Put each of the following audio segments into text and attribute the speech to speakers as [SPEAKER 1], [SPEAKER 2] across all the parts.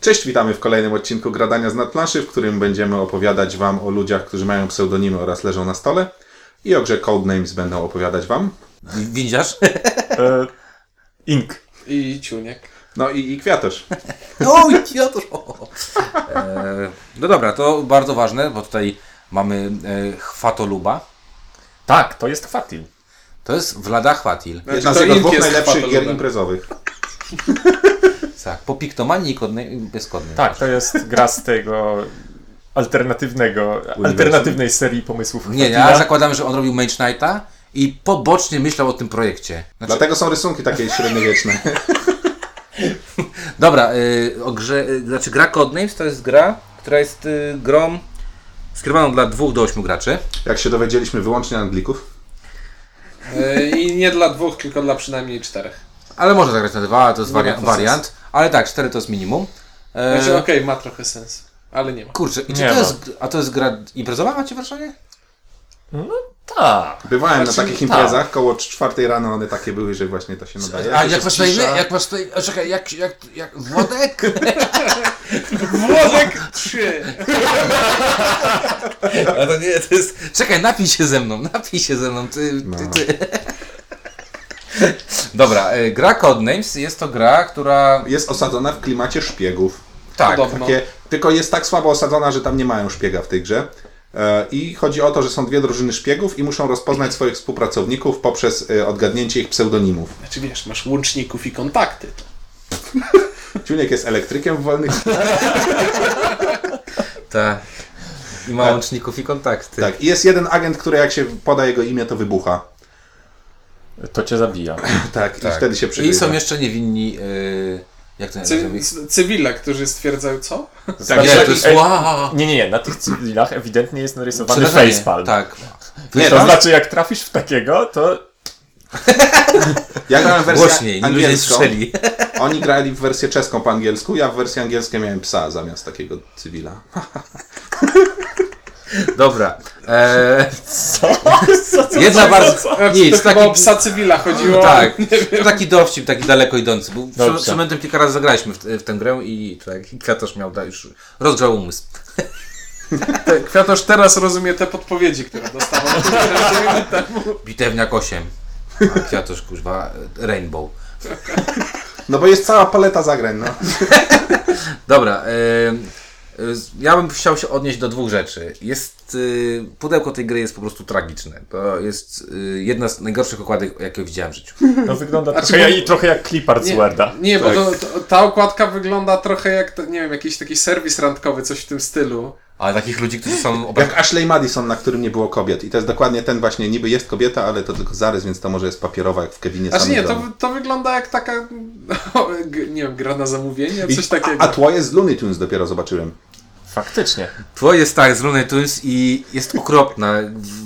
[SPEAKER 1] Cześć, witamy w kolejnym odcinku Gradania z Nadplanszy, w którym będziemy opowiadać Wam o ludziach, którzy mają pseudonimy oraz leżą na stole. I o grze Codenames będą opowiadać Wam.
[SPEAKER 2] Windziarz?
[SPEAKER 3] E, ink.
[SPEAKER 4] I ciuniek.
[SPEAKER 1] No i, i Kwiatosz.
[SPEAKER 4] Znaczy,
[SPEAKER 2] Oj, ja to... E, No dobra, to bardzo ważne, bo tutaj mamy e, chwatoluba.
[SPEAKER 3] Tak, to jest Fatil.
[SPEAKER 2] To jest Vlada Chwatil.
[SPEAKER 4] Znaczy,
[SPEAKER 1] Jedna z
[SPEAKER 4] to Znaczy-
[SPEAKER 1] jego
[SPEAKER 4] Ink
[SPEAKER 1] dwóch
[SPEAKER 4] jest
[SPEAKER 1] najlepszych gier
[SPEAKER 4] patologem.
[SPEAKER 1] imprezowych.
[SPEAKER 2] Tak, po piktomanii i kodnej, bezkodnej.
[SPEAKER 3] Tak, to jest gra z tego alternatywnego, alternatywnej serii pomysłów
[SPEAKER 2] Nie,
[SPEAKER 3] Fatila.
[SPEAKER 2] ja zakładam, że on robił Mage Knighta i pobocznie myślał o tym projekcie. Znaczy,
[SPEAKER 1] Dlatego są rysunki takie średniowieczne.
[SPEAKER 2] dobra, y, o grze, y, znaczy gra Codenames to jest gra, która jest y, grą skrywaną dla dwóch do ośmiu graczy.
[SPEAKER 1] Jak się dowiedzieliśmy, wyłącznie Anglików.
[SPEAKER 4] Yy, I nie dla dwóch, tylko dla przynajmniej czterech.
[SPEAKER 2] Ale można zagrać na dwa, to jest
[SPEAKER 4] Nie ma
[SPEAKER 2] waria-
[SPEAKER 4] to sensu.
[SPEAKER 2] wariant. Ale tak, cztery to jest minimum. E,
[SPEAKER 4] Znaczy, okej, ma trochę sens, ale nie ma.
[SPEAKER 2] Kurczę, i czy
[SPEAKER 3] Nie
[SPEAKER 2] to
[SPEAKER 3] ma.
[SPEAKER 2] jest, a to jest gra imprezowa macie w Warszawie?
[SPEAKER 3] Tak.
[SPEAKER 1] Bywałem na
[SPEAKER 3] Znaczy,
[SPEAKER 1] takich
[SPEAKER 3] tak.
[SPEAKER 1] imprezach, koło czwartej rano one takie były, że właśnie to się nadaje.
[SPEAKER 2] A
[SPEAKER 1] Że
[SPEAKER 2] jak
[SPEAKER 1] się
[SPEAKER 2] masz na imię?
[SPEAKER 1] wcisza.
[SPEAKER 2] Jak masz na imię? a Czekaj, jak, jak, jak Włodek?
[SPEAKER 4] Włodek 3!
[SPEAKER 1] no
[SPEAKER 2] A to nie, to jest... Czekaj, napij się ze mną, napij się ze mną, ty,
[SPEAKER 1] No.
[SPEAKER 2] ty, ty. Dobra, y, gra Codenames jest to gra, która...
[SPEAKER 1] Jest osadzona w klimacie szpiegów.
[SPEAKER 2] Tak,
[SPEAKER 4] Podobno.
[SPEAKER 1] Takie, tylko jest tak słabo osadzona, że tam nie mają szpiega w tej grze. E, I chodzi o to, że są dwie drużyny szpiegów i muszą rozpoznać swoich współpracowników poprzez e, odgadnięcie ich pseudonimów.
[SPEAKER 4] Znaczy, wiesz, masz łączników i kontakty. To.
[SPEAKER 1] Ciuniek jest elektrykiem w wolnych.
[SPEAKER 2] tak. I ma łączników i kontakty.
[SPEAKER 1] Tak. I jest jeden agent, który jak się poda jego imię, to wybucha.
[SPEAKER 3] To cię zabija.
[SPEAKER 1] Tak, i
[SPEAKER 2] Tak.
[SPEAKER 1] wtedy się
[SPEAKER 2] I
[SPEAKER 1] przygrywa.
[SPEAKER 2] są jeszcze niewinni... y, Jak to
[SPEAKER 4] Cy
[SPEAKER 2] nazywa?
[SPEAKER 4] c- cywile, którzy stwierdzają co?
[SPEAKER 1] Tak,
[SPEAKER 3] Znaczy,
[SPEAKER 2] Nie, tak, to jest...
[SPEAKER 3] e,
[SPEAKER 2] Wow.
[SPEAKER 3] nie, nie, nie, na tych cywilach ewidentnie jest narysowany
[SPEAKER 2] Przerażenie.
[SPEAKER 3] facepalm.
[SPEAKER 2] Tak.
[SPEAKER 1] Nie,
[SPEAKER 3] to
[SPEAKER 1] tam-
[SPEAKER 3] znaczy, jak trafisz w takiego, to
[SPEAKER 1] Ja grałem w
[SPEAKER 2] Głośniej,
[SPEAKER 1] wersję
[SPEAKER 2] ludzie nie
[SPEAKER 1] angielską.
[SPEAKER 2] słyszeli.
[SPEAKER 1] Oni grali w wersję czeską po angielsku, ja w wersji angielskiej miałem psa zamiast takiego cywila.
[SPEAKER 2] Dobra. E,
[SPEAKER 3] co? co, co
[SPEAKER 2] jedna
[SPEAKER 3] co-
[SPEAKER 2] bardzo...
[SPEAKER 3] co-
[SPEAKER 4] to
[SPEAKER 2] Nic,
[SPEAKER 4] chyba o
[SPEAKER 2] taki
[SPEAKER 4] psa cywila chodziło.
[SPEAKER 2] Tak, to taki dowcip, taki daleko idący. Bo
[SPEAKER 3] Dobrze.
[SPEAKER 2] z Szymentem kilka razy zagraliśmy w, w tę grę i tak, i Kwiatosz miał da, już rozgrzał umysł.
[SPEAKER 4] Te- Kwiatosz teraz rozumie te podpowiedzi, które dostałem.
[SPEAKER 2] Bitewniak 8, a Kwiatosz kuźwa Rainbow.
[SPEAKER 1] No bo jest cała paleta zagrań, no.
[SPEAKER 2] Dobra, y, y, ja bym chciał się odnieść do dwóch rzeczy. Jest, y, pudełko tej gry jest po prostu tragiczne. To jest y, jedna z najgorszych okładek, jakie widziałem w życiu.
[SPEAKER 3] No wygląda
[SPEAKER 4] Znaczy,
[SPEAKER 3] trochę,
[SPEAKER 4] bo-
[SPEAKER 3] jak, trochę jak Clipart z Worda.
[SPEAKER 4] Nie, bo
[SPEAKER 1] Tak.
[SPEAKER 4] to, to, ta okładka wygląda trochę jak, to, nie wiem, jakiś taki serwis randkowy, coś w tym stylu.
[SPEAKER 2] Ale takich ludzi, którzy są obraz...
[SPEAKER 1] Jak Ashley Madison, na którym nie było kobiet. I to jest dokładnie ten właśnie, niby jest kobieta, ale to tylko zarys, więc to może jest papierowa jak w Kevinie
[SPEAKER 4] Znaczy
[SPEAKER 1] samym
[SPEAKER 4] nie, to,
[SPEAKER 1] domu.
[SPEAKER 4] to wygląda jak taka, g- nie wiem, gra na zamówienie,
[SPEAKER 1] I-
[SPEAKER 4] coś takiego.
[SPEAKER 1] A, a tło jest z Looney Tunes dopiero zobaczyłem.
[SPEAKER 3] Faktycznie.
[SPEAKER 2] Tło jest tak, z Looney Tunes i jest okropna.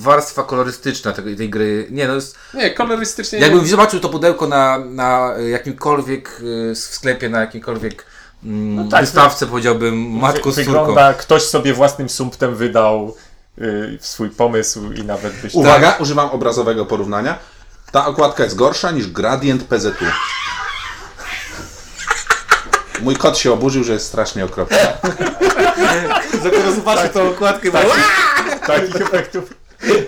[SPEAKER 2] Warstwa kolorystyczna tej, tej gry. Nie no, jest,
[SPEAKER 4] Nie, kolorystycznie nie
[SPEAKER 2] Jakbym zobaczył to pudełko na, na jakimkolwiek y, w sklepie, na jakimkolwiek mm,
[SPEAKER 3] tak,
[SPEAKER 2] wystawce, powiedziałbym matko z córką.
[SPEAKER 3] Wygląda, ktoś sobie własnym sumptem wydał y, swój pomysł i nawet byś...
[SPEAKER 1] Uwaga, używam obrazowego porównania. Ta okładka jest gorsza niż gradient PZU. Mój kot się oburzył, że jest strasznie okropny.
[SPEAKER 2] Dopiero zobaczył tą okładkę.
[SPEAKER 3] Tak. Takich efektów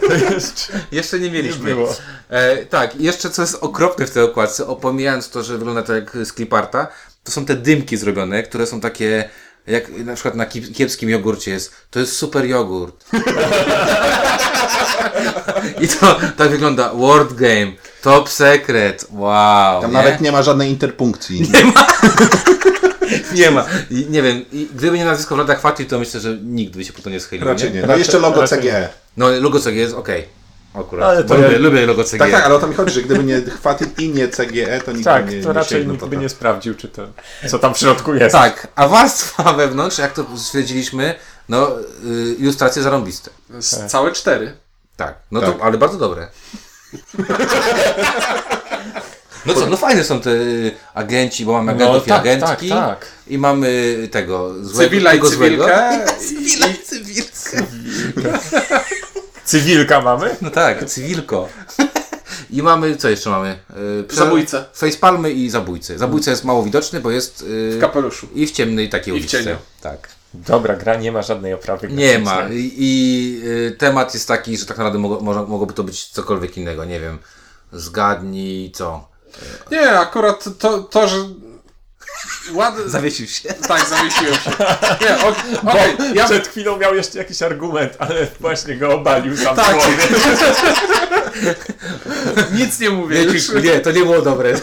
[SPEAKER 3] to jeszcze
[SPEAKER 2] Jeszcze nie
[SPEAKER 3] nie
[SPEAKER 2] mieliśmy.
[SPEAKER 3] było.
[SPEAKER 2] E, tak, i jeszcze co jest okropne w tej okładce, opomijając to, że wygląda to jak z kliparta, to są te dymki zrobione, które są takie, jak na przykład na kip- kiepskim jogurcie jest, to jest super jogurt. I to tak wygląda, World Game, Top Secret, wow.
[SPEAKER 1] Tam
[SPEAKER 2] nie?
[SPEAKER 1] nawet nie ma żadnej interpunkcji.
[SPEAKER 2] Nie ma. I, nie wiem, i gdyby nie nazwisko Wlada Chwatil, to myślę, że nikt by się po to nie schylił.
[SPEAKER 1] Raczej nie. No
[SPEAKER 3] Raczej-
[SPEAKER 1] jeszcze logo
[SPEAKER 3] raczej-
[SPEAKER 1] CGE.
[SPEAKER 2] No, logo CG jest okej. Akurat.
[SPEAKER 3] Ale
[SPEAKER 2] Ale
[SPEAKER 3] to
[SPEAKER 2] lubię,
[SPEAKER 3] nie-
[SPEAKER 2] lubię logo CG.
[SPEAKER 1] Tak, tak, ale o to mi chodzi, że gdyby nie Chwatil i nie CGE, to nikt
[SPEAKER 3] Tak,
[SPEAKER 1] nie,
[SPEAKER 3] to
[SPEAKER 1] nie
[SPEAKER 3] raczej
[SPEAKER 1] sięgnął
[SPEAKER 3] nikt
[SPEAKER 1] po
[SPEAKER 3] by
[SPEAKER 1] to.
[SPEAKER 3] nie sprawdził, czy to, co tam w środku jest.
[SPEAKER 2] Tak, a warstwa wewnątrz, jak to stwierdziliśmy, no, y, ilustracje zarąbiste.
[SPEAKER 4] Z Całe cztery.
[SPEAKER 2] Tak. No to, ale bardzo dobre. No co, no fajne są te y, agenci, bo mamy agentów i
[SPEAKER 3] tak,
[SPEAKER 2] agentki.
[SPEAKER 3] tak, tak.
[SPEAKER 2] I mamy tego złego,
[SPEAKER 4] Cywila i
[SPEAKER 2] tego złego.
[SPEAKER 4] cywilkę.
[SPEAKER 2] Cywila i cywilkę.
[SPEAKER 3] Cywilka mamy?
[SPEAKER 2] No tak, cywilko. I mamy, co jeszcze mamy? Yy,
[SPEAKER 4] Zabójcę.
[SPEAKER 2] Facepalmy i zabójcy. Zabójca jest mało widoczny, bo jest yy,
[SPEAKER 4] W kapeluszu.
[SPEAKER 2] i w ciemnej takiej
[SPEAKER 4] I w
[SPEAKER 2] uliczce.
[SPEAKER 4] cieniu.
[SPEAKER 2] Tak.
[SPEAKER 3] Dobra, gra nie ma żadnej oprawy.
[SPEAKER 2] Nie
[SPEAKER 3] graficznej.
[SPEAKER 2] ma. I, i y, temat jest taki, że tak naprawdę mogło, może, mogłoby to być cokolwiek innego, nie wiem. Zgadnij co.
[SPEAKER 4] Nie, akurat to, to że... Ład...
[SPEAKER 2] Zawiesił się.
[SPEAKER 4] Tak, zawiesiłem się. Nie, ok- okej, ja...
[SPEAKER 3] Przed chwilą miał jeszcze jakiś argument, ale właśnie go obalił sam
[SPEAKER 4] Tak.
[SPEAKER 3] w głowie.
[SPEAKER 4] Nic nie mówię
[SPEAKER 2] Nie,
[SPEAKER 4] już.
[SPEAKER 2] ci- nie, to nie było dobre.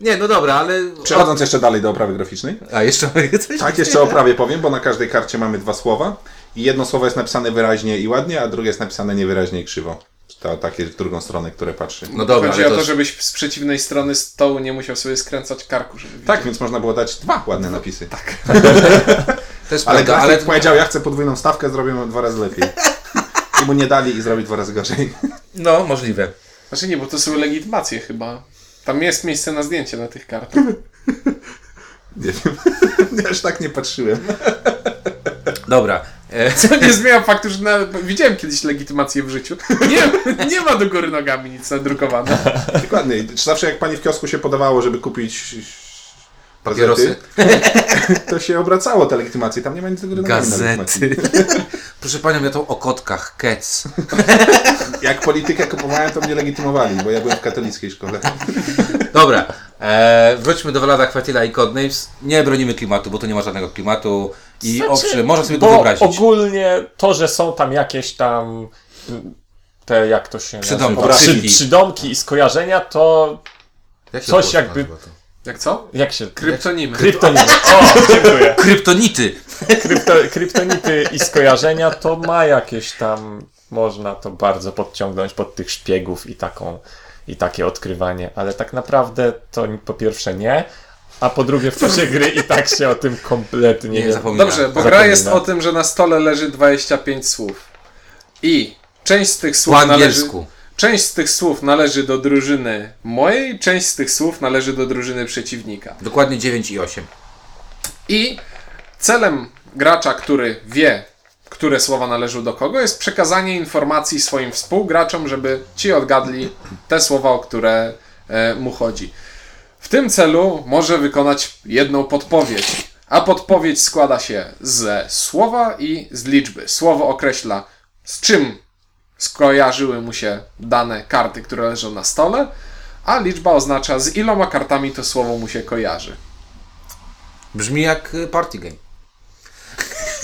[SPEAKER 2] Nie, no dobra, ale...
[SPEAKER 1] Przechodząc jeszcze dalej do oprawy graficznej.
[SPEAKER 2] A, jeszcze mamy coś?
[SPEAKER 1] Tak, jeszcze o prawie powiem, bo na każdej karcie mamy dwa słowa. I jedno słowo jest napisane wyraźnie i ładnie, a drugie jest napisane niewyraźnie i krzywo. To takie w drugą stronę, które patrzy.
[SPEAKER 2] No dobra,
[SPEAKER 4] Chodzi
[SPEAKER 2] ale
[SPEAKER 4] o to,
[SPEAKER 2] to-
[SPEAKER 4] żebyś z przeciwnej strony stołu nie musiał sobie skręcać karku, żeby
[SPEAKER 1] Tak, więc można było dać dwa ładne napisy. Tak.
[SPEAKER 2] to jest
[SPEAKER 1] Ale
[SPEAKER 2] prawda,
[SPEAKER 1] grafik
[SPEAKER 2] tak, ale...
[SPEAKER 1] powiedział, ja chcę podwójną stawkę, zrobię ją dwa razy lepiej. I mu nie dali i zrobił dwa razy gorzej.
[SPEAKER 2] No, możliwe.
[SPEAKER 4] Znaczy nie, bo to są legitymacje chyba. Tam jest miejsce na zdjęcie na tych kartach.
[SPEAKER 1] Nie wiem. Ja już tak nie patrzyłem.
[SPEAKER 2] Dobra. E,
[SPEAKER 4] To nie zmienia faktu, że na... widziałem kiedyś legitymację w życiu. Nie, nie ma do góry nogami nic nadrukowane.
[SPEAKER 1] Dokładnie. I Czy zawsze jak pani w kiosku się podawało, żeby kupić
[SPEAKER 2] Kierosy.
[SPEAKER 1] prezety, to się obracało te legitymacje. Tam nie ma nic do gry na legitymacji.
[SPEAKER 2] Gazety. Proszę panią, ja to o kotkach, kec.
[SPEAKER 1] Jak politykę kupowałem, to mnie legitymowali, bo ja byłem w katolickiej szkole.
[SPEAKER 2] Dobra, e, wróćmy do Walada Chwatila i Codenames. Nie bronimy klimatu, bo tu nie ma żadnego klimatu. I owszem, można sobie to
[SPEAKER 3] Znaczy, Bo
[SPEAKER 2] wyobrazić.
[SPEAKER 3] ogólnie to, że są tam jakieś tam mm, te, jak to się
[SPEAKER 2] Przydomki.
[SPEAKER 3] nazywa? Przy,
[SPEAKER 2] Obrazki.
[SPEAKER 3] Tak, przydomki i skojarzenia, to
[SPEAKER 2] Jak się
[SPEAKER 3] coś
[SPEAKER 2] po polsku
[SPEAKER 3] jakby-
[SPEAKER 2] nazywa to?
[SPEAKER 4] Jak co?
[SPEAKER 3] jak się...
[SPEAKER 4] Kryptonimy.
[SPEAKER 3] Kryptonity. O, dziękuję.
[SPEAKER 2] Kryptonity!
[SPEAKER 3] Krypto, kryptonity i skojarzenia to ma jakieś tam... Można to bardzo podciągnąć pod tych szpiegów i taką... I takie odkrywanie, ale tak naprawdę to po pierwsze nie, a po drugie w czasie gry i tak się o tym kompletnie
[SPEAKER 2] Nie,
[SPEAKER 3] nie,
[SPEAKER 2] zapomniałem.
[SPEAKER 4] Dobrze, bo gra
[SPEAKER 3] Zapomina.
[SPEAKER 4] jest o tym, że na stole leży 25 słów. I część z tych słów
[SPEAKER 2] Po
[SPEAKER 4] należy...
[SPEAKER 2] angielsku.
[SPEAKER 4] Część z tych słów należy do drużyny mojej, część z tych słów należy do drużyny przeciwnika.
[SPEAKER 2] Dokładnie 9 i 8.
[SPEAKER 4] I celem gracza, który wie, które słowa należą do kogo, jest przekazanie informacji swoim współgraczom, żeby ci odgadli te słowa, o które e, mu chodzi. W tym celu może wykonać jedną podpowiedź, a podpowiedź składa się ze słowa i z liczby. Słowo określa, z czym skojarzyły mu się dane karty, które leżą na stole, a liczba oznacza, z iloma kartami to słowo mu się kojarzy.
[SPEAKER 2] Brzmi jak y, party game.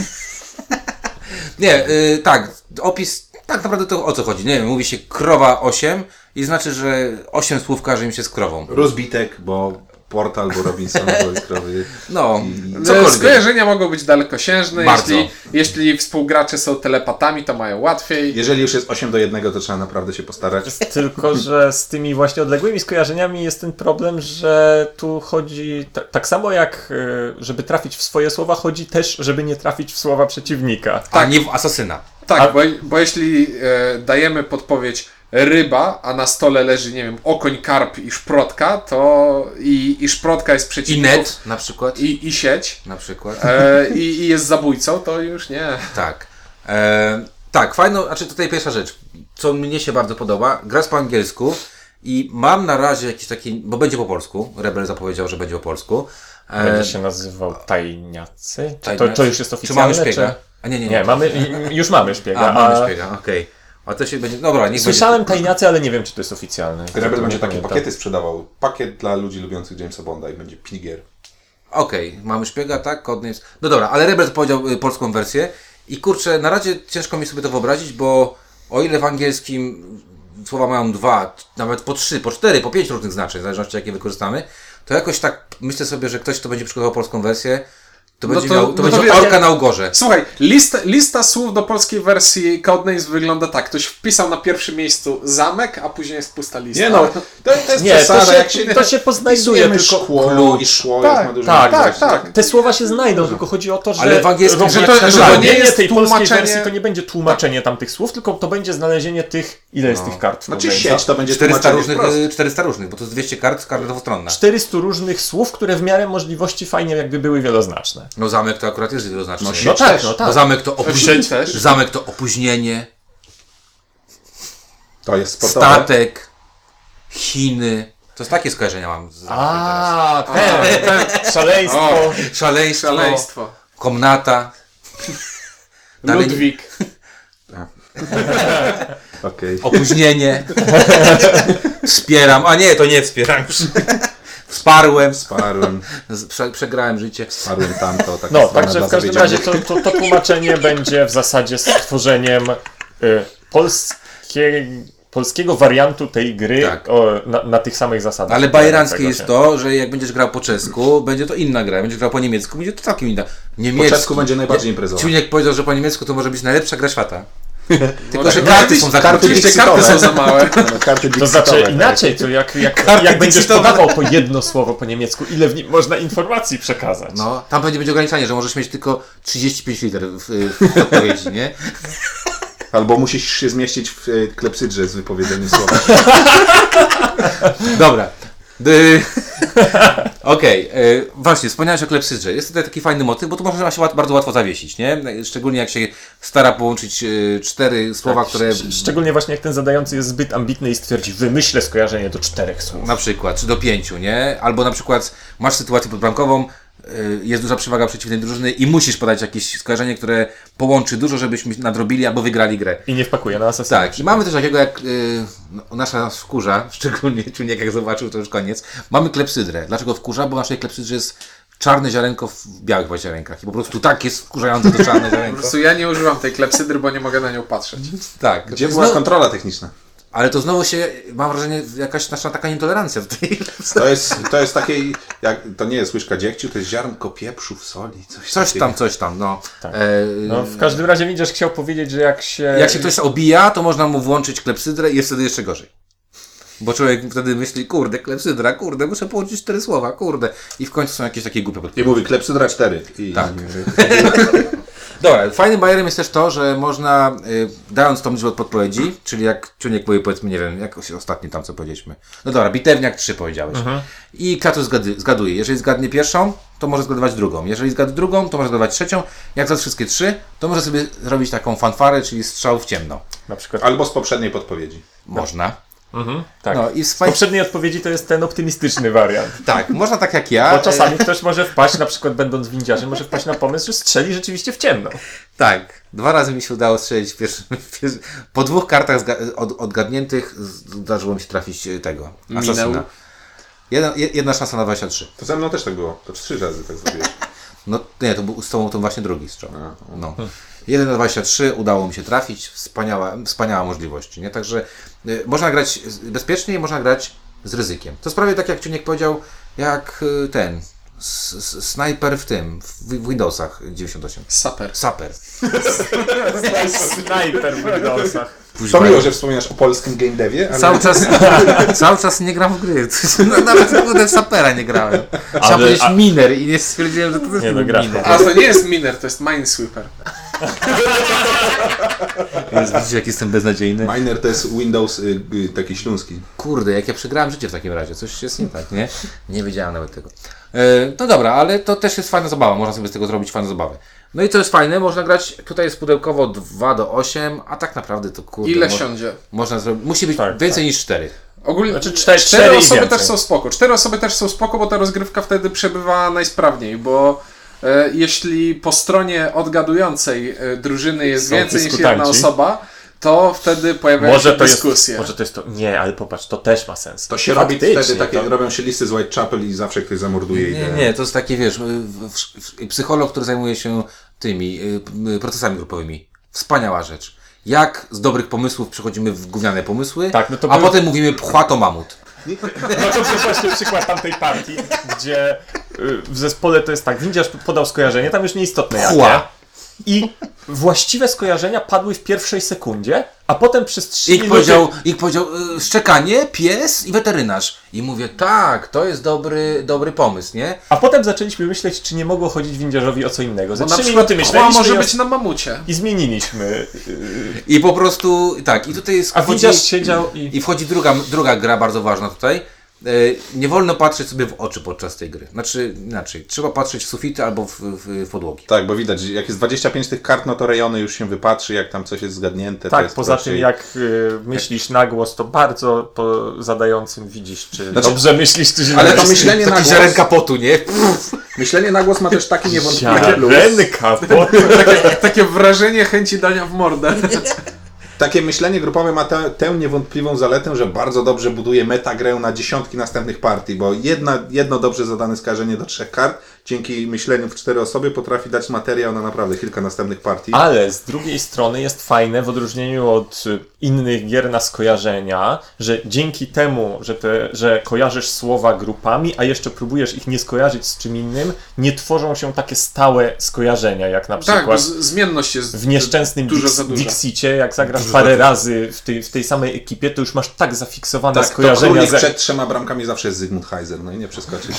[SPEAKER 2] nie, y, tak, opis, tak naprawdę to o co chodzi. Nie wiem, mówi się krowa 8 i znaczy, że 8 słów każe im się z krową.
[SPEAKER 1] Rozbitek, bo portal, bo Robinson, bo krowy.
[SPEAKER 2] No,
[SPEAKER 4] Cokolwiek.
[SPEAKER 2] cokolwiek.
[SPEAKER 4] Skojarzenia mogą być dalekosiężne.
[SPEAKER 2] Bardzo.
[SPEAKER 4] Jeśli, jeśli współgracze są telepatami, to mają łatwiej.
[SPEAKER 1] Jeżeli już jest 8 do 1, to trzeba naprawdę się postarać.
[SPEAKER 3] Tylko, że z tymi właśnie odległymi skojarzeniami jest ten problem, że tu chodzi ta, tak samo jak y, żeby trafić w swoje słowa, chodzi też, żeby nie trafić w słowa przeciwnika.
[SPEAKER 2] A nie w asasyna.
[SPEAKER 4] Tak,
[SPEAKER 3] A-
[SPEAKER 4] bo, bo jeśli e, dajemy podpowiedź ryba, a na stole leży, nie wiem, okoń, karp i szprotka, to i, i szprotka jest
[SPEAKER 2] I
[SPEAKER 4] przeciwnikiem
[SPEAKER 2] net na przykład.
[SPEAKER 4] i, i sieć
[SPEAKER 2] Na przykład.
[SPEAKER 4] e, i, i jest zabójcą, to już nie.
[SPEAKER 2] Tak. E, tak, fajno, znaczy tutaj pierwsza rzecz, co mnie się bardzo podoba, gra jest po angielsku i mam na razie jakiś taki, bo będzie po polsku, Rebel zapowiedział, że będzie po polsku. E,
[SPEAKER 3] Będzie się nazywał tajniacy? Czy to,
[SPEAKER 2] tajniacy.
[SPEAKER 3] to już jest
[SPEAKER 2] Czy
[SPEAKER 3] oficjalne?
[SPEAKER 2] mamy szpiega? A nie, nie,
[SPEAKER 3] Nie,
[SPEAKER 2] nie.
[SPEAKER 3] mamy, i- już mamy szpiega.
[SPEAKER 2] A, mamy
[SPEAKER 3] a-
[SPEAKER 2] szpiega, okej. A to się będzie, dobra, niech
[SPEAKER 3] Słyszałem tajniacy, ale nie wiem, czy to jest oficjalne.
[SPEAKER 1] Rebel
[SPEAKER 3] Nie
[SPEAKER 1] będzie takie
[SPEAKER 3] pamiętam.
[SPEAKER 1] pakiety sprzedawał. Pakiet dla ludzi lubiących Jamesa Bonda i będzie pigier.
[SPEAKER 2] będzie. Okej, mamy szpiega, tak, codenames. No dobra, ale Rebel zapowiedział y, polską wersję i kurczę, na razie ciężko mi sobie to wyobrazić, bo o ile w angielskim słowa mają dwa, nawet po trzy, po cztery, po pięć różnych znaczeń, w zależności jakie wykorzystamy, to jakoś tak myślę sobie, że ktoś, kto będzie przygotował polską wersję, to
[SPEAKER 4] No
[SPEAKER 2] będzie
[SPEAKER 4] to-
[SPEAKER 2] miał, to
[SPEAKER 4] no to
[SPEAKER 2] będzie
[SPEAKER 4] wiesz,
[SPEAKER 2] orka
[SPEAKER 4] ja-
[SPEAKER 2] na ugorze.
[SPEAKER 4] Słuchaj, lista, lista słów do polskiej wersji Codenames wygląda tak. Ktoś wpisał na pierwszym miejscu zamek, a później jest pusta lista.
[SPEAKER 1] Nie no, to, to jest
[SPEAKER 3] Nie,
[SPEAKER 1] przesada.
[SPEAKER 3] to się-
[SPEAKER 1] jak się,
[SPEAKER 3] to się poznajduje,
[SPEAKER 1] wpisujemy
[SPEAKER 3] tylko
[SPEAKER 1] szkło i szło
[SPEAKER 4] Tak,
[SPEAKER 1] jest na dużym
[SPEAKER 3] tak,
[SPEAKER 1] napisach.
[SPEAKER 4] tak, tak.
[SPEAKER 3] Te słowa się znajdą, tylko chodzi o to, że...
[SPEAKER 2] Ale w angielskim
[SPEAKER 3] Robię-
[SPEAKER 4] że to-
[SPEAKER 2] znaczy,
[SPEAKER 4] że
[SPEAKER 2] no,
[SPEAKER 4] to
[SPEAKER 3] Robienie
[SPEAKER 4] nie jest
[SPEAKER 3] tej polskiej
[SPEAKER 4] tłumaczenie-
[SPEAKER 3] wersji to nie będzie tłumaczenie tamtych słów, tylko to będzie znalezienie tych, ile jest tych kart. w
[SPEAKER 1] Znaczy
[SPEAKER 3] Codenamesie.
[SPEAKER 1] sieć to będzie
[SPEAKER 2] 400
[SPEAKER 1] tłumaczenie
[SPEAKER 2] różnych,
[SPEAKER 1] wprost.
[SPEAKER 2] y, 400 różnych, bo to jest 200 kart, każda dwustronna.
[SPEAKER 3] 400 różnych słów, które w miarę możliwości fajnie jakby były wieloznaczne.
[SPEAKER 2] No zamek to akurat jest wieloznaczny. No,
[SPEAKER 3] No tak,
[SPEAKER 4] też.
[SPEAKER 3] no
[SPEAKER 2] Bo
[SPEAKER 3] tak.
[SPEAKER 2] zamek to
[SPEAKER 4] Wsieć
[SPEAKER 2] opóźnienie.
[SPEAKER 4] też.
[SPEAKER 2] Zamek to opóźnienie,
[SPEAKER 1] To jest sportowe.
[SPEAKER 2] statek, Chiny. To jest takie skojarzenia mam z teraz.
[SPEAKER 3] A, ten,
[SPEAKER 1] tak,
[SPEAKER 3] ten, szaleństwo.
[SPEAKER 2] Szaleństwo,
[SPEAKER 4] Szaleństwo.
[SPEAKER 2] komnata. No. Dalej-
[SPEAKER 4] Ludwik.
[SPEAKER 1] Okej.
[SPEAKER 2] Opóźnienie. Wspieram. A nie, to nie wspieram. Wsparłem.
[SPEAKER 1] Parłem,
[SPEAKER 2] Z- Prze przegrałem życie.
[SPEAKER 1] parłem tamto. Tak
[SPEAKER 3] No,
[SPEAKER 1] zwana
[SPEAKER 3] także
[SPEAKER 1] dla
[SPEAKER 3] w każdym razie
[SPEAKER 1] zawiedzionych.
[SPEAKER 3] to, to, to tłumaczenie będzie w zasadzie stworzeniem y, polskie, polskiego wariantu tej gry
[SPEAKER 2] Tak.
[SPEAKER 3] o, na, na tych samych zasadach.
[SPEAKER 2] Ale
[SPEAKER 1] Tak,
[SPEAKER 2] bajeranskie jest
[SPEAKER 3] Tego się-
[SPEAKER 2] to, że jak będziesz grał po czesku, będzie to inna gra. Jak Będziesz grał po niemiecku, będzie to całkiem inna.
[SPEAKER 1] Po
[SPEAKER 2] Niemiecki.
[SPEAKER 1] czesku będzie najbardziej imprezowa.
[SPEAKER 2] Ciuniek powiedział, że po niemiecku to może być najlepsza gra świata. Tylko, że
[SPEAKER 4] tak.
[SPEAKER 2] karty są za
[SPEAKER 1] Karty
[SPEAKER 2] krótkie.
[SPEAKER 4] Oczywiście karty są za małe.
[SPEAKER 1] No, karty
[SPEAKER 3] To
[SPEAKER 1] dixitowe,
[SPEAKER 3] znaczy
[SPEAKER 1] tak.
[SPEAKER 3] inaczej, to jak, jak,
[SPEAKER 2] Karty
[SPEAKER 3] jak będziesz
[SPEAKER 2] dixitowe.
[SPEAKER 3] podawał po jedno słowo po niemiecku, ile w nim można informacji przekazać.
[SPEAKER 2] No, tam będzie, będzie ograniczenie, że możesz mieć tylko 35 liter w, w odpowiedzi, nie?
[SPEAKER 1] Albo musisz się zmieścić w e, klepsydrze z wypowiedzeniem słowa.
[SPEAKER 2] Dobra. Dy... Okej, e, właśnie, wspomniałeś o klepsydrze. Jest tutaj taki fajny motyw, bo tu można się łat, bardzo łatwo zawiesić, nie? Szczególnie jak się stara połączyć e, cztery słowa, które
[SPEAKER 3] Tak, Sz- Szczególnie właśnie jak ten zadający jest zbyt ambitny i stwierdzi, wymyślę skojarzenie do czterech słów.
[SPEAKER 2] na przykład, czy do pięciu, nie? Albo na przykład masz sytuację podbramkową, y, jest duża przewaga przeciwnej drużyny i musisz podać jakieś skojarzenie, które połączy dużo, żebyśmy nadrobili albo wygrali grę.
[SPEAKER 3] I nie wpakuje na asesyna.
[SPEAKER 2] Tak, i mamy też takiego jak y, no, nasza wkurza, szczególnie Ciuniek jak zobaczył, to już koniec. Mamy klepsydrę. Dlaczego wkurza? Bo w naszej klepsydrze jest czarne ziarenko w białych właśnie ziarenkach. I po prostu tak jest wkurzające to czarne
[SPEAKER 4] Po
[SPEAKER 2] ziarenko.
[SPEAKER 4] prostu ja nie używam tej klepsydry, bo nie mogę na nią patrzeć.
[SPEAKER 3] Mhm.
[SPEAKER 2] Tak.
[SPEAKER 1] Gdzie była
[SPEAKER 2] znowu,
[SPEAKER 1] kontrola techniczna?
[SPEAKER 2] ale to znowu się, mam wrażenie, jakaś nasza taka intolerancja do tej
[SPEAKER 1] To jest, to jest takie, jak, to nie jest łyżka dziegciu, to jest ziarnko pieprzu w soli, coś,
[SPEAKER 2] Coś
[SPEAKER 1] takiego.
[SPEAKER 2] tam, coś tam, no.
[SPEAKER 3] Tak.
[SPEAKER 2] E,
[SPEAKER 3] No, w każdym razie widzisz, chciał powiedzieć, że jak się...
[SPEAKER 2] Jak się ktoś obija, to można mu włączyć klepsydrę i jest wtedy jeszcze gorzej. Bo człowiek wtedy myśli, kurde, klepsydra, kurde, muszę połączyć cztery słowa, kurde. I w końcu są jakieś takie głupie podpowiedzi.
[SPEAKER 1] I mówi klepsydra 4. I,
[SPEAKER 2] Tak. Dobra, fajnym bajerem jest też to, że można, y, dając tą liczbę podpowiedzi, czyli jak Czuniek mówi, powiedzmy, nie wiem, jak się ostatnio tam co powiedzieliśmy. No dobra, bitewniak 3 powiedziałeś. I Katu zgady, zgaduje. Jeżeli zgadnie pierwszą, to może zgadywać drugą. Jeżeli zgadnie drugą, to może zgadywać trzecią. Jak za wszystkie trzy, to może sobie zrobić taką fanfarę, czyli strzał w ciemno.
[SPEAKER 3] Na przykład...
[SPEAKER 1] Albo z poprzedniej podpowiedzi.
[SPEAKER 2] Można.
[SPEAKER 3] Tak.
[SPEAKER 2] No i z
[SPEAKER 3] W
[SPEAKER 2] faj...
[SPEAKER 3] poprzedniej odpowiedzi to jest ten optymistyczny wariant.
[SPEAKER 2] Tak, można tak jak ja.
[SPEAKER 3] Bo czasami ktoś może wpaść, na przykład będąc windziarzem, może wpaść na pomysł, że strzeli rzeczywiście w ciemno.
[SPEAKER 2] Tak, dwa razy mi się udało strzelić w pierwszym, w pierwszym. Po dwóch kartach zga- od, odgadniętych z- zdarzyło mi się trafić e, tego.
[SPEAKER 4] Minął.
[SPEAKER 2] Asasyna. Jedna, je- jedna szansa na 23.
[SPEAKER 1] To ze mną też tak było. To trzy razy tak zrobiłeś.
[SPEAKER 2] No nie, to był z tobą to właśnie drugi strzał. No. 1 na 23 udało mi się trafić. Wspaniała, wspaniała możliwość. Nie? Także y, można grać z- bezpiecznie i można grać z ryzykiem. To jest prawie tak jak Ciuniek powiedział, jak y, ten s- s- snajper w tym, w, w Windowsach 98.
[SPEAKER 4] Saper.
[SPEAKER 2] Saper.
[SPEAKER 3] Snajper w Windowsach.
[SPEAKER 1] To miło, że wspominasz o polskim game devie, ale
[SPEAKER 2] Cały czas, cały czas nie gram w gry. No, Nawet kurde w sapera nie grałem. Chciałem
[SPEAKER 3] Ale-
[SPEAKER 2] powiedzieć
[SPEAKER 3] a-
[SPEAKER 2] miner i nie stwierdziłem, że to też
[SPEAKER 3] Nie
[SPEAKER 2] nie
[SPEAKER 3] no,
[SPEAKER 2] był
[SPEAKER 3] gra.
[SPEAKER 2] miner.
[SPEAKER 4] A to nie jest miner, to jest minesweeper.
[SPEAKER 2] Więc widzicie, jak jestem beznadziejny.
[SPEAKER 1] Miner to jest Windows y, y, taki śląski.
[SPEAKER 2] Kurde, jak ja przegrałem życie w takim razie, coś jest nie tak, nie? Nie wiedziałem nawet tego. E, no dobra, ale to też jest fajna zabawa, można sobie z tego zrobić fajną zabawę. No i co jest fajne, można grać, tutaj jest pudełkowo 2 do 8, a tak naprawdę to kurde.
[SPEAKER 4] Ile
[SPEAKER 2] mo-
[SPEAKER 4] siądzie?
[SPEAKER 2] Można zrobić, musi być
[SPEAKER 3] Tak,
[SPEAKER 2] więcej niż 4.
[SPEAKER 4] Ogólnie
[SPEAKER 3] Znaczy cztery-
[SPEAKER 4] cztery
[SPEAKER 3] cztery i
[SPEAKER 4] osoby
[SPEAKER 3] więcej.
[SPEAKER 4] też są spoko. Cztery osoby też są spoko, bo ta rozgrywka wtedy przebywa najsprawniej, bo e, jeśli po stronie odgadującej e, drużyny jest
[SPEAKER 3] Są
[SPEAKER 4] więcej niż
[SPEAKER 3] dyskutanci.
[SPEAKER 4] jedna osoba, to wtedy pojawiają
[SPEAKER 3] Może
[SPEAKER 4] się
[SPEAKER 3] to, jest,
[SPEAKER 4] dyskusje.
[SPEAKER 3] może to jest to... Nie, ale popatrz, to też ma sens.
[SPEAKER 1] To się robi wtedy takie, robią się listy z Whitechapel i zawsze ktoś zamorduje
[SPEAKER 2] Nie,
[SPEAKER 1] ideę.
[SPEAKER 2] nie, to jest takie, wiesz, y, w- w- psycholog, który zajmuje się tymi y, p- procesami grupowymi. Wspaniała rzecz. Jak z dobrych pomysłów przechodzimy w gówniane pomysły,
[SPEAKER 3] Tak, no to
[SPEAKER 2] a
[SPEAKER 3] był-
[SPEAKER 2] potem mówimy pchła to mamut.
[SPEAKER 3] No to był właśnie przykład tamtej partii, gdzie y, w zespole to jest tak, windziarz podał skojarzenie, tam już nieistotne jakie.
[SPEAKER 2] Pchła.
[SPEAKER 3] I właściwe skojarzenia padły w pierwszej sekundzie, a potem przez trzy
[SPEAKER 2] Ich
[SPEAKER 3] minuty...
[SPEAKER 2] powiedział, ich powiedział y, szczekanie, pies i weterynarz. I mówię, tak, to jest dobry, dobry pomysł, nie?
[SPEAKER 3] A potem zaczęliśmy myśleć, czy nie mogło chodzić windziarzowi o co innego. Za
[SPEAKER 4] Bo na
[SPEAKER 3] trzy
[SPEAKER 4] przykład
[SPEAKER 3] minuty
[SPEAKER 4] kła
[SPEAKER 3] Znaczy, myśleliśmy
[SPEAKER 4] może
[SPEAKER 3] i
[SPEAKER 4] być na mamucie.
[SPEAKER 3] I zmieniliśmy.
[SPEAKER 2] I po prostu, tak, i tutaj jest...
[SPEAKER 3] A
[SPEAKER 2] wchodzi-
[SPEAKER 3] widziarz siedział i.
[SPEAKER 2] I wchodzi druga, druga gra bardzo ważna tutaj, e, nie wolno patrzeć sobie w oczy podczas tej gry. Znaczy, inaczej, trzeba patrzeć w sufity albo w, w, w podłogi.
[SPEAKER 1] Tak, bo widać, jak jest 25 tych kart, no to rejony już się wypatrzy, jak tam coś jest zgadnięte. to
[SPEAKER 3] Tak,
[SPEAKER 1] jest
[SPEAKER 3] poza
[SPEAKER 1] prościej.
[SPEAKER 3] tym jak y, myślisz na głos, to bardzo po zadającym widzisz, czy
[SPEAKER 1] Znaczy-
[SPEAKER 3] dobrze myślisz, czy źle
[SPEAKER 1] Ale to
[SPEAKER 3] myślisz.
[SPEAKER 1] myślenie na
[SPEAKER 2] Takie
[SPEAKER 1] głos,
[SPEAKER 2] ziarenka potu, nie?
[SPEAKER 1] myślenie na głos ma też taki niewątpliwy plus.
[SPEAKER 3] Ziarenka, bo
[SPEAKER 4] Takie wrażenie chęci dania w mordę. Tak,
[SPEAKER 1] Takie myślenie grupowe ma tę, tę niewątpliwą zaletę, że bardzo dobrze buduje metagrę na dziesiątki następnych partii, bo jedna, jedno dobrze zadane skażenie do trzech kart dzięki myśleniu w cztery osoby potrafi dać materiał na naprawdę kilka następnych partii.
[SPEAKER 3] Ale z drugiej strony jest fajne w odróżnieniu od y, innych gier na skojarzenia, że dzięki temu, że, te, że kojarzysz słowa grupami, a jeszcze próbujesz ich nie skojarzyć z czym innym, nie tworzą się takie stałe skojarzenia, jak na
[SPEAKER 4] Tak, bo
[SPEAKER 3] przykład
[SPEAKER 4] z- zmienność jest
[SPEAKER 3] w nieszczęsnym
[SPEAKER 4] dużo
[SPEAKER 3] Dix-
[SPEAKER 4] za duża.
[SPEAKER 3] Dixicie, jak zagrasz parę razy w tej, w tej samej ekipie, to już masz tak zafiksowane
[SPEAKER 1] tak, to
[SPEAKER 3] skojarzenia.
[SPEAKER 1] królik
[SPEAKER 3] ze-
[SPEAKER 1] przed trzema bramkami zawsze jest Zygmunt Heiser, no i nie przeskoczysz.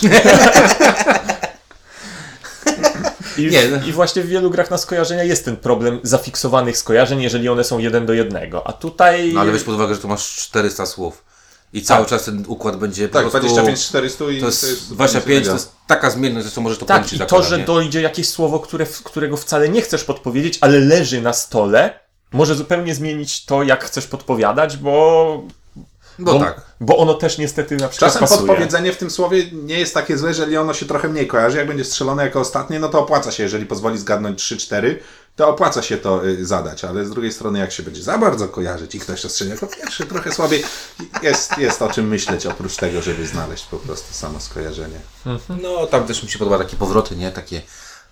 [SPEAKER 3] I,
[SPEAKER 2] Nie, no.
[SPEAKER 3] w, I właśnie w wielu grach na skojarzenia jest ten problem zafiksowanych skojarzeń, jeżeli one są jeden do jednego. A tutaj...
[SPEAKER 2] No ale weź pod uwagę, że tu masz 400 słów. I cały czas ten układ będzie
[SPEAKER 1] Tak,
[SPEAKER 2] po prostu...
[SPEAKER 1] 25 400 i
[SPEAKER 2] To jest 25, to jest taka zmienność, że możesz to
[SPEAKER 3] Tak,
[SPEAKER 2] połączyć
[SPEAKER 3] i
[SPEAKER 2] tak
[SPEAKER 3] to, że
[SPEAKER 2] ładnie.
[SPEAKER 3] dojdzie jakieś słowo, które, którego wcale nie chcesz podpowiedzieć, ale leży na stole, może zupełnie zmienić to, jak chcesz podpowiadać, bo,
[SPEAKER 2] No
[SPEAKER 3] bo,
[SPEAKER 2] tak.
[SPEAKER 3] bo ono też niestety na przykład
[SPEAKER 1] Czasem
[SPEAKER 3] pasuje.
[SPEAKER 1] podpowiedzenie w tym słowie nie jest takie złe, jeżeli ono się trochę mniej kojarzy. Jak będzie strzelone jako ostatnie, no to opłaca się, jeżeli pozwoli zgadnąć 3-4, to opłaca się to y, zadać, ale z drugiej strony, jak się będzie za bardzo kojarzyć i ktoś to strzeli jako pierwszy, trochę słabiej, jest, jest o czym myśleć, oprócz tego, żeby znaleźć po prostu samo skojarzenie.
[SPEAKER 2] No, tam też mi się podoba takie powroty, nie? Takie,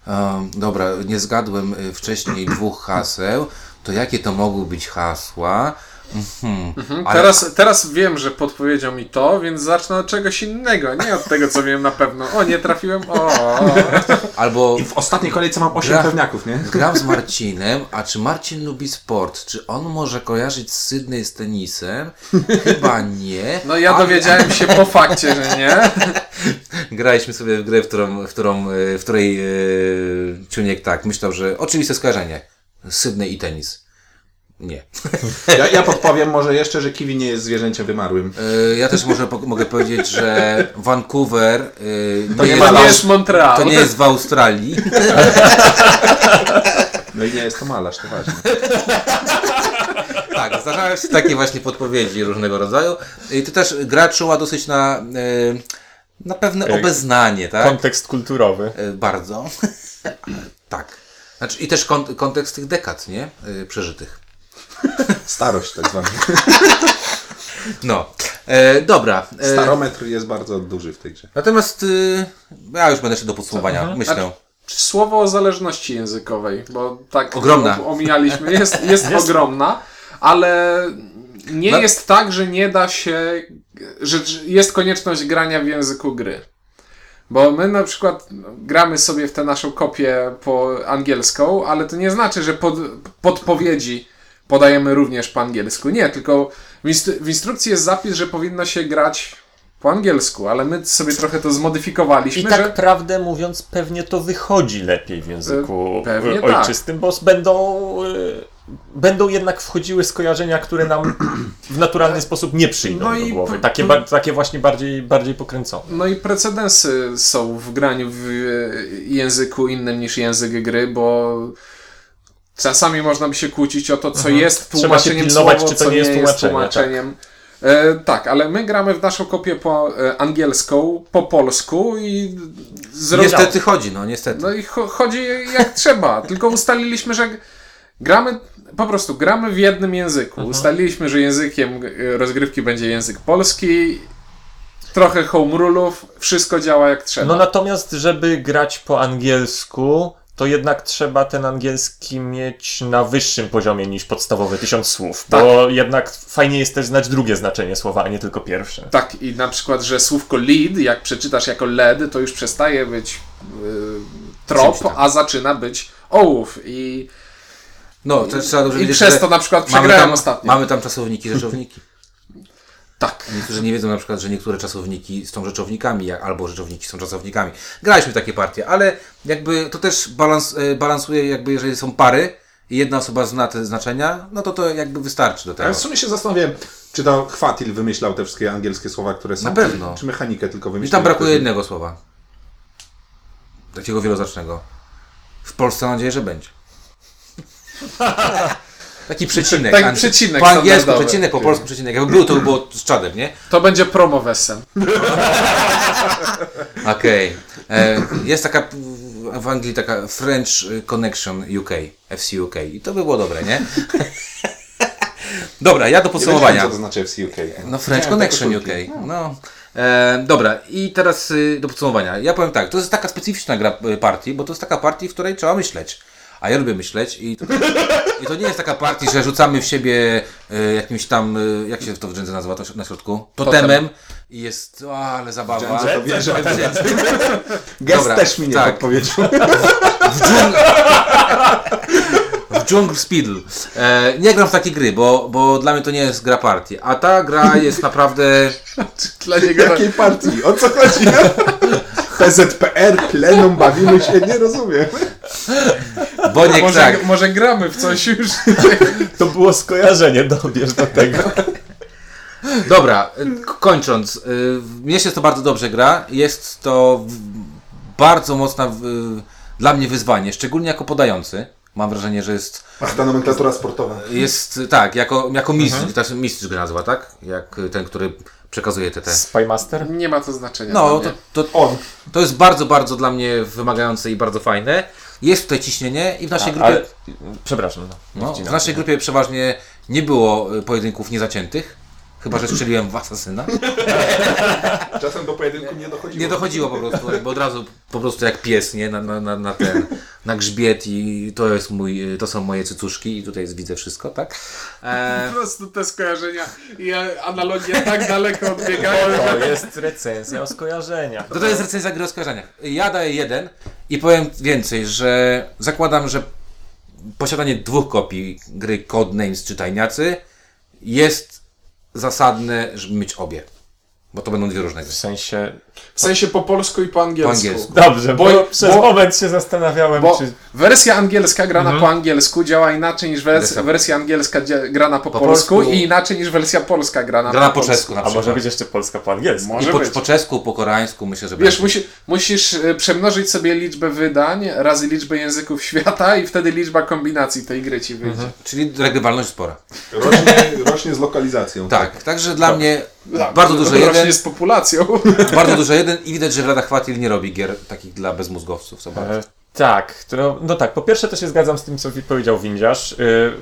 [SPEAKER 2] em, dobra, nie zgadłem y, wcześniej dwóch haseł, to jakie to mogły być hasła? Mhm. Ale-
[SPEAKER 4] Teraz, teraz wiem, że podpowiedział mi to, więc zacznę od czegoś innego, nie od tego, co wiem na pewno. O, nie trafiłem, o, o, o.
[SPEAKER 2] Albo
[SPEAKER 1] I w ostatniej kolejce mam 8
[SPEAKER 2] Gra-
[SPEAKER 1] pewniaków, nie?
[SPEAKER 2] gram z Marcinem, a czy Marcin lubi sport? Czy on może kojarzyć Sydney z tenisem? Chyba nie.
[SPEAKER 4] No ja
[SPEAKER 2] ale-
[SPEAKER 4] dowiedziałem się po fakcie, że nie.
[SPEAKER 2] Graliśmy sobie w grę, w, którą, w, którą, y, w której yy, Ciuniek tak myślał, że oczywiste skojarzenie. Sydney i tenis. Nie.
[SPEAKER 1] Ja, ja podpowiem może jeszcze, że kiwi nie jest zwierzęciem wymarłym.
[SPEAKER 2] Y, Ja też może po, mogę powiedzieć, że Vancouver y,
[SPEAKER 1] To nie
[SPEAKER 2] jest,
[SPEAKER 1] ma
[SPEAKER 4] To
[SPEAKER 1] Halo.
[SPEAKER 4] nie jest Montreal.
[SPEAKER 2] to nie jest w Australii.
[SPEAKER 1] No i nie jest to malarz, to ważne.
[SPEAKER 2] tak, zdarzają się takie właśnie podpowiedzi różnego rodzaju. I to też gra czuła dosyć na, y, na pewne
[SPEAKER 3] Y,
[SPEAKER 2] obeznanie, tak?
[SPEAKER 3] Kontekst kulturowy.
[SPEAKER 2] Y, Bardzo. tak. Znaczy, I też kont- kontekst tych dekad, nie? Y, Przeżytych.
[SPEAKER 1] Starość tak zwana.
[SPEAKER 2] No. E, dobra. E,
[SPEAKER 1] Starometr jest bardzo duży w tej grze.
[SPEAKER 2] Natomiast y, ja już będę jeszcze do podsumowania, myślę.
[SPEAKER 4] Słowo o zależności językowej, bo tak
[SPEAKER 2] Ogromna.
[SPEAKER 4] o- omijaliśmy, jest, jest ogromna, ale nie
[SPEAKER 2] No.
[SPEAKER 4] jest tak, że nie da się, że że jest konieczność grania w języku gry. Bo my na przykład gramy sobie w tę naszą kopię po angielską, ale to nie znaczy, że pod, podpowiedzi podajemy również po angielsku. Nie, tylko w, instru- w instrukcji jest zapis, że powinno się grać po angielsku, ale my sobie trochę to zmodyfikowaliśmy,
[SPEAKER 3] I tak
[SPEAKER 4] że...
[SPEAKER 3] prawdę mówiąc, pewnie to wychodzi lepiej w języku
[SPEAKER 4] Y, pewnie
[SPEAKER 3] y,
[SPEAKER 4] tak.
[SPEAKER 3] ojczystym, bo s- będą, y, będą jednak wchodziły skojarzenia, które nam w naturalny sposób nie przyjdą
[SPEAKER 4] No
[SPEAKER 3] do
[SPEAKER 4] i
[SPEAKER 3] głowy.
[SPEAKER 4] p-
[SPEAKER 3] Takie, ba- takie właśnie bardziej, bardziej pokręcone.
[SPEAKER 4] No i precedensy są w graniu w e, języku innym niż język gry, bo czasami można by się kłócić o to, co jest
[SPEAKER 3] Mhm. Trzeba się
[SPEAKER 4] tłumaczeniem
[SPEAKER 3] pilnować,
[SPEAKER 4] słowa,
[SPEAKER 3] czy to
[SPEAKER 4] co
[SPEAKER 3] nie jest tłumaczenie,
[SPEAKER 4] tłumaczeniem. E, tak, ale my gramy w naszą kopię po e, angielską, po polsku i zrobiliśmy.
[SPEAKER 2] Niestety chodzi, no niestety.
[SPEAKER 4] No i cho- chodzi jak trzeba, tylko ustaliliśmy, że gramy, po prostu gramy w jednym
[SPEAKER 2] Mhm.
[SPEAKER 4] języku. Ustaliliśmy, że językiem e, rozgrywki będzie język polski, trochę home rule'ów, wszystko działa jak trzeba.
[SPEAKER 3] No natomiast, żeby grać po angielsku, to jednak trzeba ten angielski mieć na wyższym poziomie niż podstawowe tysiąc słów, bo jednak fajnie jest też znać drugie znaczenie słowa, a nie tylko pierwsze.
[SPEAKER 4] Tak, i na przykład, że słówko lead, jak przeczytasz jako led, to już przestaje być y, trop,
[SPEAKER 2] Czymś tam.
[SPEAKER 4] a zaczyna być ołów. I,
[SPEAKER 2] No, też trzeba dobrze
[SPEAKER 4] i
[SPEAKER 2] wiedzieć,
[SPEAKER 4] przez
[SPEAKER 2] że
[SPEAKER 4] to na przykład
[SPEAKER 2] mamy
[SPEAKER 4] przegrałem
[SPEAKER 2] tam,
[SPEAKER 4] ostatnio.
[SPEAKER 2] mamy tam czasowniki, rzeczowniki.
[SPEAKER 4] Tak.
[SPEAKER 2] Niektórzy nie wiedzą na przykład, że niektóre czasowniki są rzeczownikami, jak- albo rzeczowniki są czasownikami. Graliśmy w takie partie, ale jakby to też balans, e, balansuje, jakby jeżeli są pary i jedna osoba zna te znaczenia, no to to jakby wystarczy do
[SPEAKER 1] Ja
[SPEAKER 2] tego.
[SPEAKER 1] w sumie się zastanawiałem, Czy to Chwatil wymyślał te wszystkie angielskie słowa, które są?
[SPEAKER 2] Na pewno.
[SPEAKER 1] Czy, czy mechanikę tylko
[SPEAKER 2] Mi
[SPEAKER 1] wymyślał?
[SPEAKER 2] tam brakuje jednego słowa. Takiego wieloznacznego. W Polsce mam nadzieję, że będzie. Taki przecinek.
[SPEAKER 4] Taki
[SPEAKER 2] anty-
[SPEAKER 4] przecinek
[SPEAKER 2] Po angielsku
[SPEAKER 4] standardowy.
[SPEAKER 2] przecinek, po polsku przecinek. Jakby było, to by było z czadem, nie?
[SPEAKER 4] To będzie promo wesem.
[SPEAKER 2] Okej. E, Jest taka p- w Anglii taka French Connection UK, FC UK. I to by było dobre, nie? Dobra, ja do
[SPEAKER 1] Nie wiedziałem,
[SPEAKER 2] podsumowania.
[SPEAKER 1] co to znaczy FC UK.
[SPEAKER 2] No French Connection UK. No. E, dobra, i teraz y, do podsumowania. Ja powiem tak, to jest taka specyficzna gra y, partii, bo to jest taka partii, w której trzeba myśleć. A ja lubię myśleć i to, i to nie jest taka partii, że rzucamy w siebie y, jakimś tam, y, jak się to w dżędze nazywa to na środku? Totemem i jest, o, ale zabawa.
[SPEAKER 1] Dżędze to wieża.
[SPEAKER 2] W dżędze.
[SPEAKER 1] Gest
[SPEAKER 2] Dobra,
[SPEAKER 1] też mi nie
[SPEAKER 2] tak.
[SPEAKER 1] podpowiedział.
[SPEAKER 2] W dżung... W Jungle Speedle. E, nie gram w takie gry, bo, bo dla mnie to nie jest gra partii. A ta gra jest naprawdę...
[SPEAKER 4] Dla niego tak.
[SPEAKER 1] Jakiej partii? O co chodzi? PZPR, plenum, bawimy się, nie rozumiem.
[SPEAKER 2] Boniek,
[SPEAKER 4] może,
[SPEAKER 2] tak.
[SPEAKER 4] może gramy w coś już.
[SPEAKER 3] To było skojarzenie, dobierz do tego.
[SPEAKER 2] Dobra, y, k- kończąc. y, w- Mnie się to bardzo dobrze gra. Jest to w- bardzo mocne dla mnie wyzwanie, szczególnie jako podający. Mam wrażenie, że jest.
[SPEAKER 1] Ach, ta nomenklatura sportowa.
[SPEAKER 2] Jest y, tak, jako, jako mistrz, znaczy mistrz go nazywa, tak? Jak y, ten, który przekazuje te. te.
[SPEAKER 3] Spymaster?
[SPEAKER 4] Nie ma to znaczenia.
[SPEAKER 2] No,
[SPEAKER 4] dla
[SPEAKER 2] to,
[SPEAKER 4] mnie.
[SPEAKER 2] to,
[SPEAKER 1] On.
[SPEAKER 2] to jest bardzo, bardzo dla mnie wymagające i bardzo fajne. Jest tutaj ciśnienie i w naszej grupie.
[SPEAKER 3] Ale, przepraszam. No,
[SPEAKER 2] No,
[SPEAKER 3] nie
[SPEAKER 2] w
[SPEAKER 3] wcinam.
[SPEAKER 2] naszej grupie przeważnie nie było y, pojedynków niezaciętych. Chyba, że strzeliłem w asasyna.
[SPEAKER 1] Czasem do pojedynku nie dochodziło.
[SPEAKER 2] Nie dochodziło po prostu, jakby od razu po prostu jak pies, nie? Na, na, na, na ten, na grzbiet i to jest mój, to są moje cycuszki i tutaj jest, widzę wszystko, tak? E,
[SPEAKER 4] Po prostu te skojarzenia i e, analogie tak daleko odbiegają.
[SPEAKER 3] To jest recenzja o skojarzeniach.
[SPEAKER 2] to, to jest recenzja gry o skojarzeniach. Ja daję jeden i powiem więcej, że zakładam, że posiadanie dwóch kopii gry Codenames czy Tajniacy jest zasadne, żeby mieć obie. Bo to będą dwie różne gry.
[SPEAKER 3] W sensie...
[SPEAKER 4] W sensie po polsku i po angielsku.
[SPEAKER 2] Po angielsku.
[SPEAKER 3] Dobrze, bo,
[SPEAKER 4] Bo-
[SPEAKER 3] przez
[SPEAKER 4] bo-
[SPEAKER 3] moment się zastanawiałem,
[SPEAKER 4] Bo
[SPEAKER 3] czy...
[SPEAKER 4] wersja angielska grana
[SPEAKER 1] Mhm.
[SPEAKER 4] po angielsku działa inaczej niż wers-
[SPEAKER 2] Wersja-
[SPEAKER 4] wersja angielska dzia- grana po,
[SPEAKER 2] Po
[SPEAKER 4] polsku,
[SPEAKER 2] polsku.
[SPEAKER 4] i inaczej niż wersja polska grana
[SPEAKER 2] Gra na po
[SPEAKER 4] polsku.
[SPEAKER 2] czesku na
[SPEAKER 3] A może
[SPEAKER 2] przykład.
[SPEAKER 3] być jeszcze Polska po angielsku?
[SPEAKER 4] Może
[SPEAKER 2] I po,
[SPEAKER 4] być.
[SPEAKER 2] po czesku, po koreańsku myślę, że
[SPEAKER 4] Wiesz,
[SPEAKER 2] będzie.
[SPEAKER 4] musi, musisz e, przemnożyć sobie liczbę wydań razy liczbę języków świata i wtedy liczba kombinacji tej gry ci wyjdzie.
[SPEAKER 1] Mhm.
[SPEAKER 2] Czyli regrywalność spora.
[SPEAKER 1] Rośnie, rośnie z lokalizacją.
[SPEAKER 2] Tak, także dla mnie bardzo
[SPEAKER 4] To
[SPEAKER 2] duży
[SPEAKER 4] rośnie
[SPEAKER 2] jeden,
[SPEAKER 4] z populacją.
[SPEAKER 2] bardzo duży jeden i widać, że Wlada Chwatil nie robi gier takich dla bezmózgowców. Zobacz.
[SPEAKER 3] E, Tak, no, no tak, po pierwsze to się zgadzam z tym, co wi- powiedział Windziarz. Y,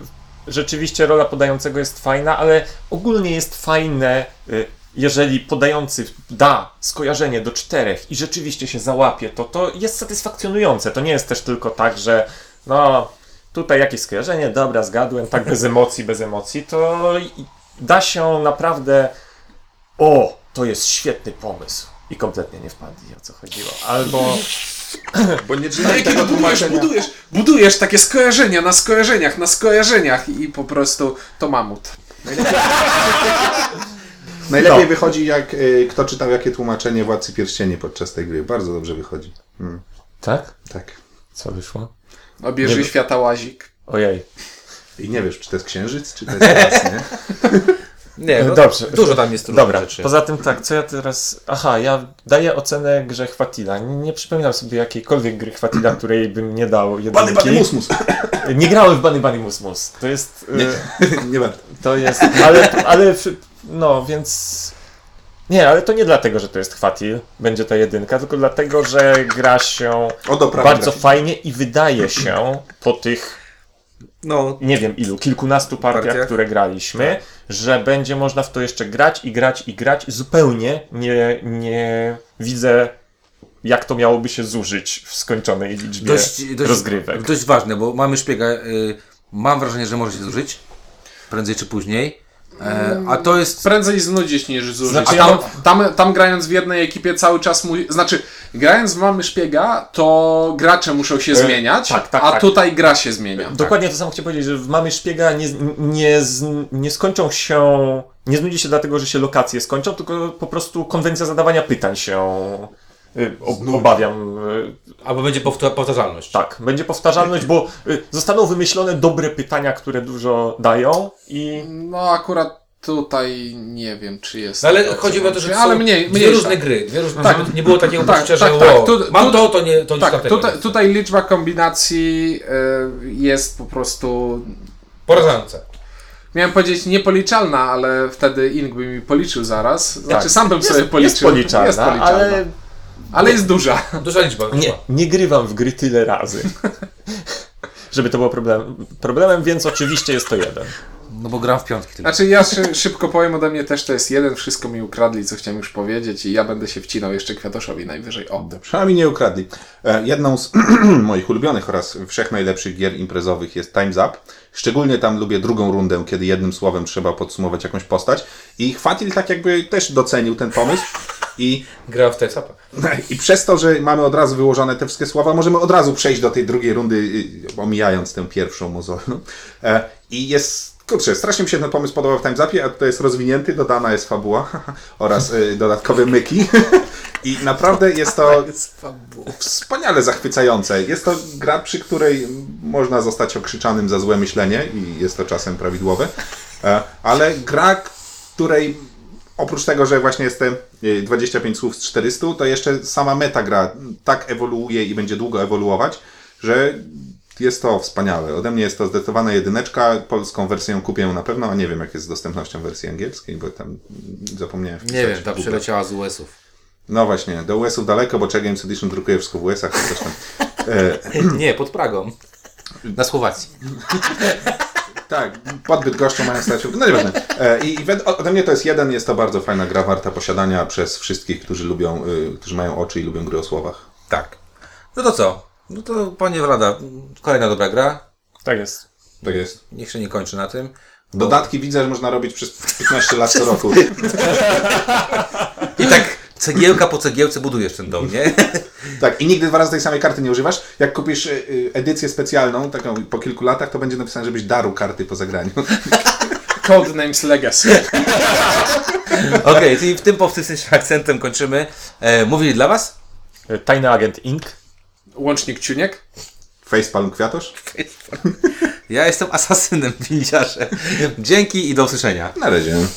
[SPEAKER 3] Rzeczywiście rola podającego jest fajna, ale ogólnie jest fajne, y, jeżeli podający da skojarzenie do czterech i rzeczywiście się załapie, to to jest satysfakcjonujące. To nie jest też tylko tak, że no tutaj jakieś skojarzenie, dobra, zgadłem, tak bez emocji, bez emocji, to i- da się naprawdę o, to jest świetny pomysł. I kompletnie nie wpadli, o co chodziło. Albo
[SPEAKER 1] Bo nie
[SPEAKER 4] No
[SPEAKER 1] czytałem
[SPEAKER 4] jak
[SPEAKER 1] tego
[SPEAKER 4] budujesz,
[SPEAKER 1] tłumaczenia.
[SPEAKER 4] budujesz, budujesz takie skojarzenia na skojarzeniach, na skojarzeniach i po prostu to mamut.
[SPEAKER 1] Najlepiej
[SPEAKER 2] No.
[SPEAKER 1] wychodzi, jak y, kto czytał jakie tłumaczenie Władcy Pierścieni podczas tej gry. Bardzo dobrze wychodzi. Mm,
[SPEAKER 3] Tak?
[SPEAKER 1] tak.
[SPEAKER 3] Co wyszło?
[SPEAKER 4] Obieży
[SPEAKER 3] Nie-
[SPEAKER 4] No, świata łazik.
[SPEAKER 3] Ojej.
[SPEAKER 1] I nie wiesz, czy to jest księżyc, czy to jest las, nie?
[SPEAKER 2] Nie, no,
[SPEAKER 3] Dobrze.
[SPEAKER 2] Dużo tam jest różnych
[SPEAKER 3] Dobra,
[SPEAKER 2] rzeczy.
[SPEAKER 3] poza tym tak, co ja teraz... Aha, ja daję ocenę grze Chwatila. Nie, nie przypominam sobie jakiejkolwiek gry Chwatila, której bym nie dał
[SPEAKER 1] Bany,
[SPEAKER 3] jedynki.
[SPEAKER 1] bany, mus, mus.
[SPEAKER 3] Nie grałem w Bany Bany Mus Mus. To jest... y,
[SPEAKER 1] Nie warto.
[SPEAKER 3] To jest... Ale, ale... przy- No, więc... Nie, ale to nie dlatego, że to jest Chwatil, będzie ta jedynka, tylko dlatego, że gra się
[SPEAKER 1] O doprawie.
[SPEAKER 3] bardzo fajnie i wydaje się po tych
[SPEAKER 2] No,
[SPEAKER 3] nie wiem ilu, kilkunastu partiach,
[SPEAKER 2] Partiach? Tak.
[SPEAKER 3] które graliśmy, że będzie można w to jeszcze grać i grać i grać. Zupełnie nie, nie widzę, jak to miałoby się zużyć w skończonej liczbie
[SPEAKER 2] dość, dość,
[SPEAKER 3] rozgrywek.
[SPEAKER 2] dość ważne, bo mamy szpiega. Y, mam wrażenie, że może się zużyć. Prędzej czy później. E, a to jest.
[SPEAKER 4] Prędzej znudzić niż zużyć.
[SPEAKER 3] Znaczy, ja
[SPEAKER 4] tam,
[SPEAKER 3] mam-
[SPEAKER 4] tam, tam grając w jednej ekipie cały czas mu... Znaczy, grając w Mamy Szpiega, to gracze muszą się zmieniać,
[SPEAKER 3] tak, tak,
[SPEAKER 4] a
[SPEAKER 3] tak.
[SPEAKER 4] tutaj gra się zmienia.
[SPEAKER 3] Dokładnie to samo chciałem powiedzieć, że w Mamy Szpiega nie, nie, z- nie skończą się, nie znudzi się dlatego, że się lokacje skończą, tylko po prostu konwencja zadawania pytań się, y, ob- obawiam, y,
[SPEAKER 2] Albo będzie powtór- powtarzalność.
[SPEAKER 3] Tak, będzie powtarzalność, bo y, zostaną wymyślone dobre pytania, które dużo dają i
[SPEAKER 4] No akurat Tutaj nie wiem, czy jest.
[SPEAKER 5] No, ale
[SPEAKER 4] taka
[SPEAKER 5] chodziło o to, że
[SPEAKER 4] opcja,
[SPEAKER 5] są
[SPEAKER 4] ale mniej,
[SPEAKER 5] dwie
[SPEAKER 4] mniejsza.
[SPEAKER 5] różne gry. Dwie różne, tak. Nie było takiego
[SPEAKER 4] Tak,
[SPEAKER 5] poczucia,
[SPEAKER 4] tak,
[SPEAKER 5] że
[SPEAKER 4] tak.
[SPEAKER 5] wow,
[SPEAKER 4] Tu-
[SPEAKER 5] mam
[SPEAKER 4] tu-
[SPEAKER 5] to, to nie, to nie
[SPEAKER 4] Tak, tutaj, tutaj liczba kombinacji y, jest po prostu
[SPEAKER 5] Porażająca.
[SPEAKER 4] Miałem powiedzieć niepoliczalna, ale wtedy Ing by mi policzył zaraz. Znaczy sam bym sobie policzył.
[SPEAKER 3] Tak. Jest policzalna,
[SPEAKER 4] Jest policzalna, ale...
[SPEAKER 3] ale
[SPEAKER 4] jest duża.
[SPEAKER 5] Duża liczba.
[SPEAKER 3] nie,
[SPEAKER 5] chyba.
[SPEAKER 3] nie grywam w gry tyle razy. Żeby to było problem, problemem, więc oczywiście jest to jeden.
[SPEAKER 2] No bo gram w piątki tylko.
[SPEAKER 4] Znaczy ja szy, szybko powiem ode mnie też to jest jeden, wszystko mi ukradli, co chciałem już powiedzieć i ja będę się wcinał jeszcze Kwiatoszowi najwyżej. O,
[SPEAKER 1] Przynajmniej nie ukradli. E, Jedną z moich ulubionych oraz wszech najlepszych gier imprezowych jest Time's Up. Szczególnie tam lubię drugą rundę, kiedy jednym słowem trzeba podsumować jakąś postać. I Chwatil tak jakby też docenił ten pomysł. I,
[SPEAKER 5] Gra w TSAP.
[SPEAKER 1] I przez to, że mamy od razu wyłożone te wszystkie słowa, możemy od razu przejść do tej drugiej rundy, y, omijając tę pierwszą mozolną. E, I jest, kurczę, strasznie mi się ten pomysł podobał w Time's Upie, a tutaj jest rozwinięty, dodana jest fabuła oraz y, dodatkowe myki. I naprawdę jest to wspaniale zachwycające. Jest to gra, przy której można zostać okrzyczanym za złe myślenie i jest to czasem prawidłowe, E, ale gra, której oprócz tego, że właśnie jest te e, 25 słów z 400, to jeszcze sama meta gra tak ewoluuje i będzie długo ewoluować, że jest to wspaniałe. Ode mnie jest to zdecydowana jedyneczka. Polską wersję kupię na pewno, a nie wiem jak jest z dostępnością wersji angielskiej, bo tam mm, zapomniałem
[SPEAKER 2] Nie
[SPEAKER 1] wpisać
[SPEAKER 2] wiem, ta
[SPEAKER 1] Google.
[SPEAKER 2] przyleciała z US-ów.
[SPEAKER 1] No właśnie, do US-ów daleko, bo Czech Games Edition drukuje wszystko w US-ach. to też tam. E,
[SPEAKER 2] Nie, pod Pragą. Na Słowacji.
[SPEAKER 1] tak, pod Bydgoszczą mają stracił. No nieważne. E, I, i wed- ode mnie to jest jeden, jest to bardzo fajna gra, warta posiadania przez wszystkich, którzy lubią, y, którzy mają oczy i lubią gry o słowach.
[SPEAKER 2] Tak. No to co? No to panie Wlada, kolejna dobra gra.
[SPEAKER 3] Tak jest.
[SPEAKER 1] Tak jest.
[SPEAKER 2] Niech się nie kończy na tym.
[SPEAKER 1] Dodatki widzę, że można robić przez 15 lat co roku.
[SPEAKER 2] I tak cegiełka po cegiełce budujesz ten dom, nie?
[SPEAKER 1] Tak, i nigdy dwa razy tej samej karty nie używasz. Jak kupisz y, y, edycję specjalną, taką po kilku latach, to będzie napisane, żebyś darł karty po zagraniu.
[SPEAKER 4] Codenames Legacy.
[SPEAKER 2] Okej, czyli w tym powtórnym akcentem kończymy. E, mówili dla was?
[SPEAKER 3] Tajny agent Inc.
[SPEAKER 4] Łącznik Ciuniek.
[SPEAKER 1] Facepalm kwiatosz?
[SPEAKER 2] Ja jestem asasynem, biliarzem. Dzięki i do usłyszenia.
[SPEAKER 1] Na razie.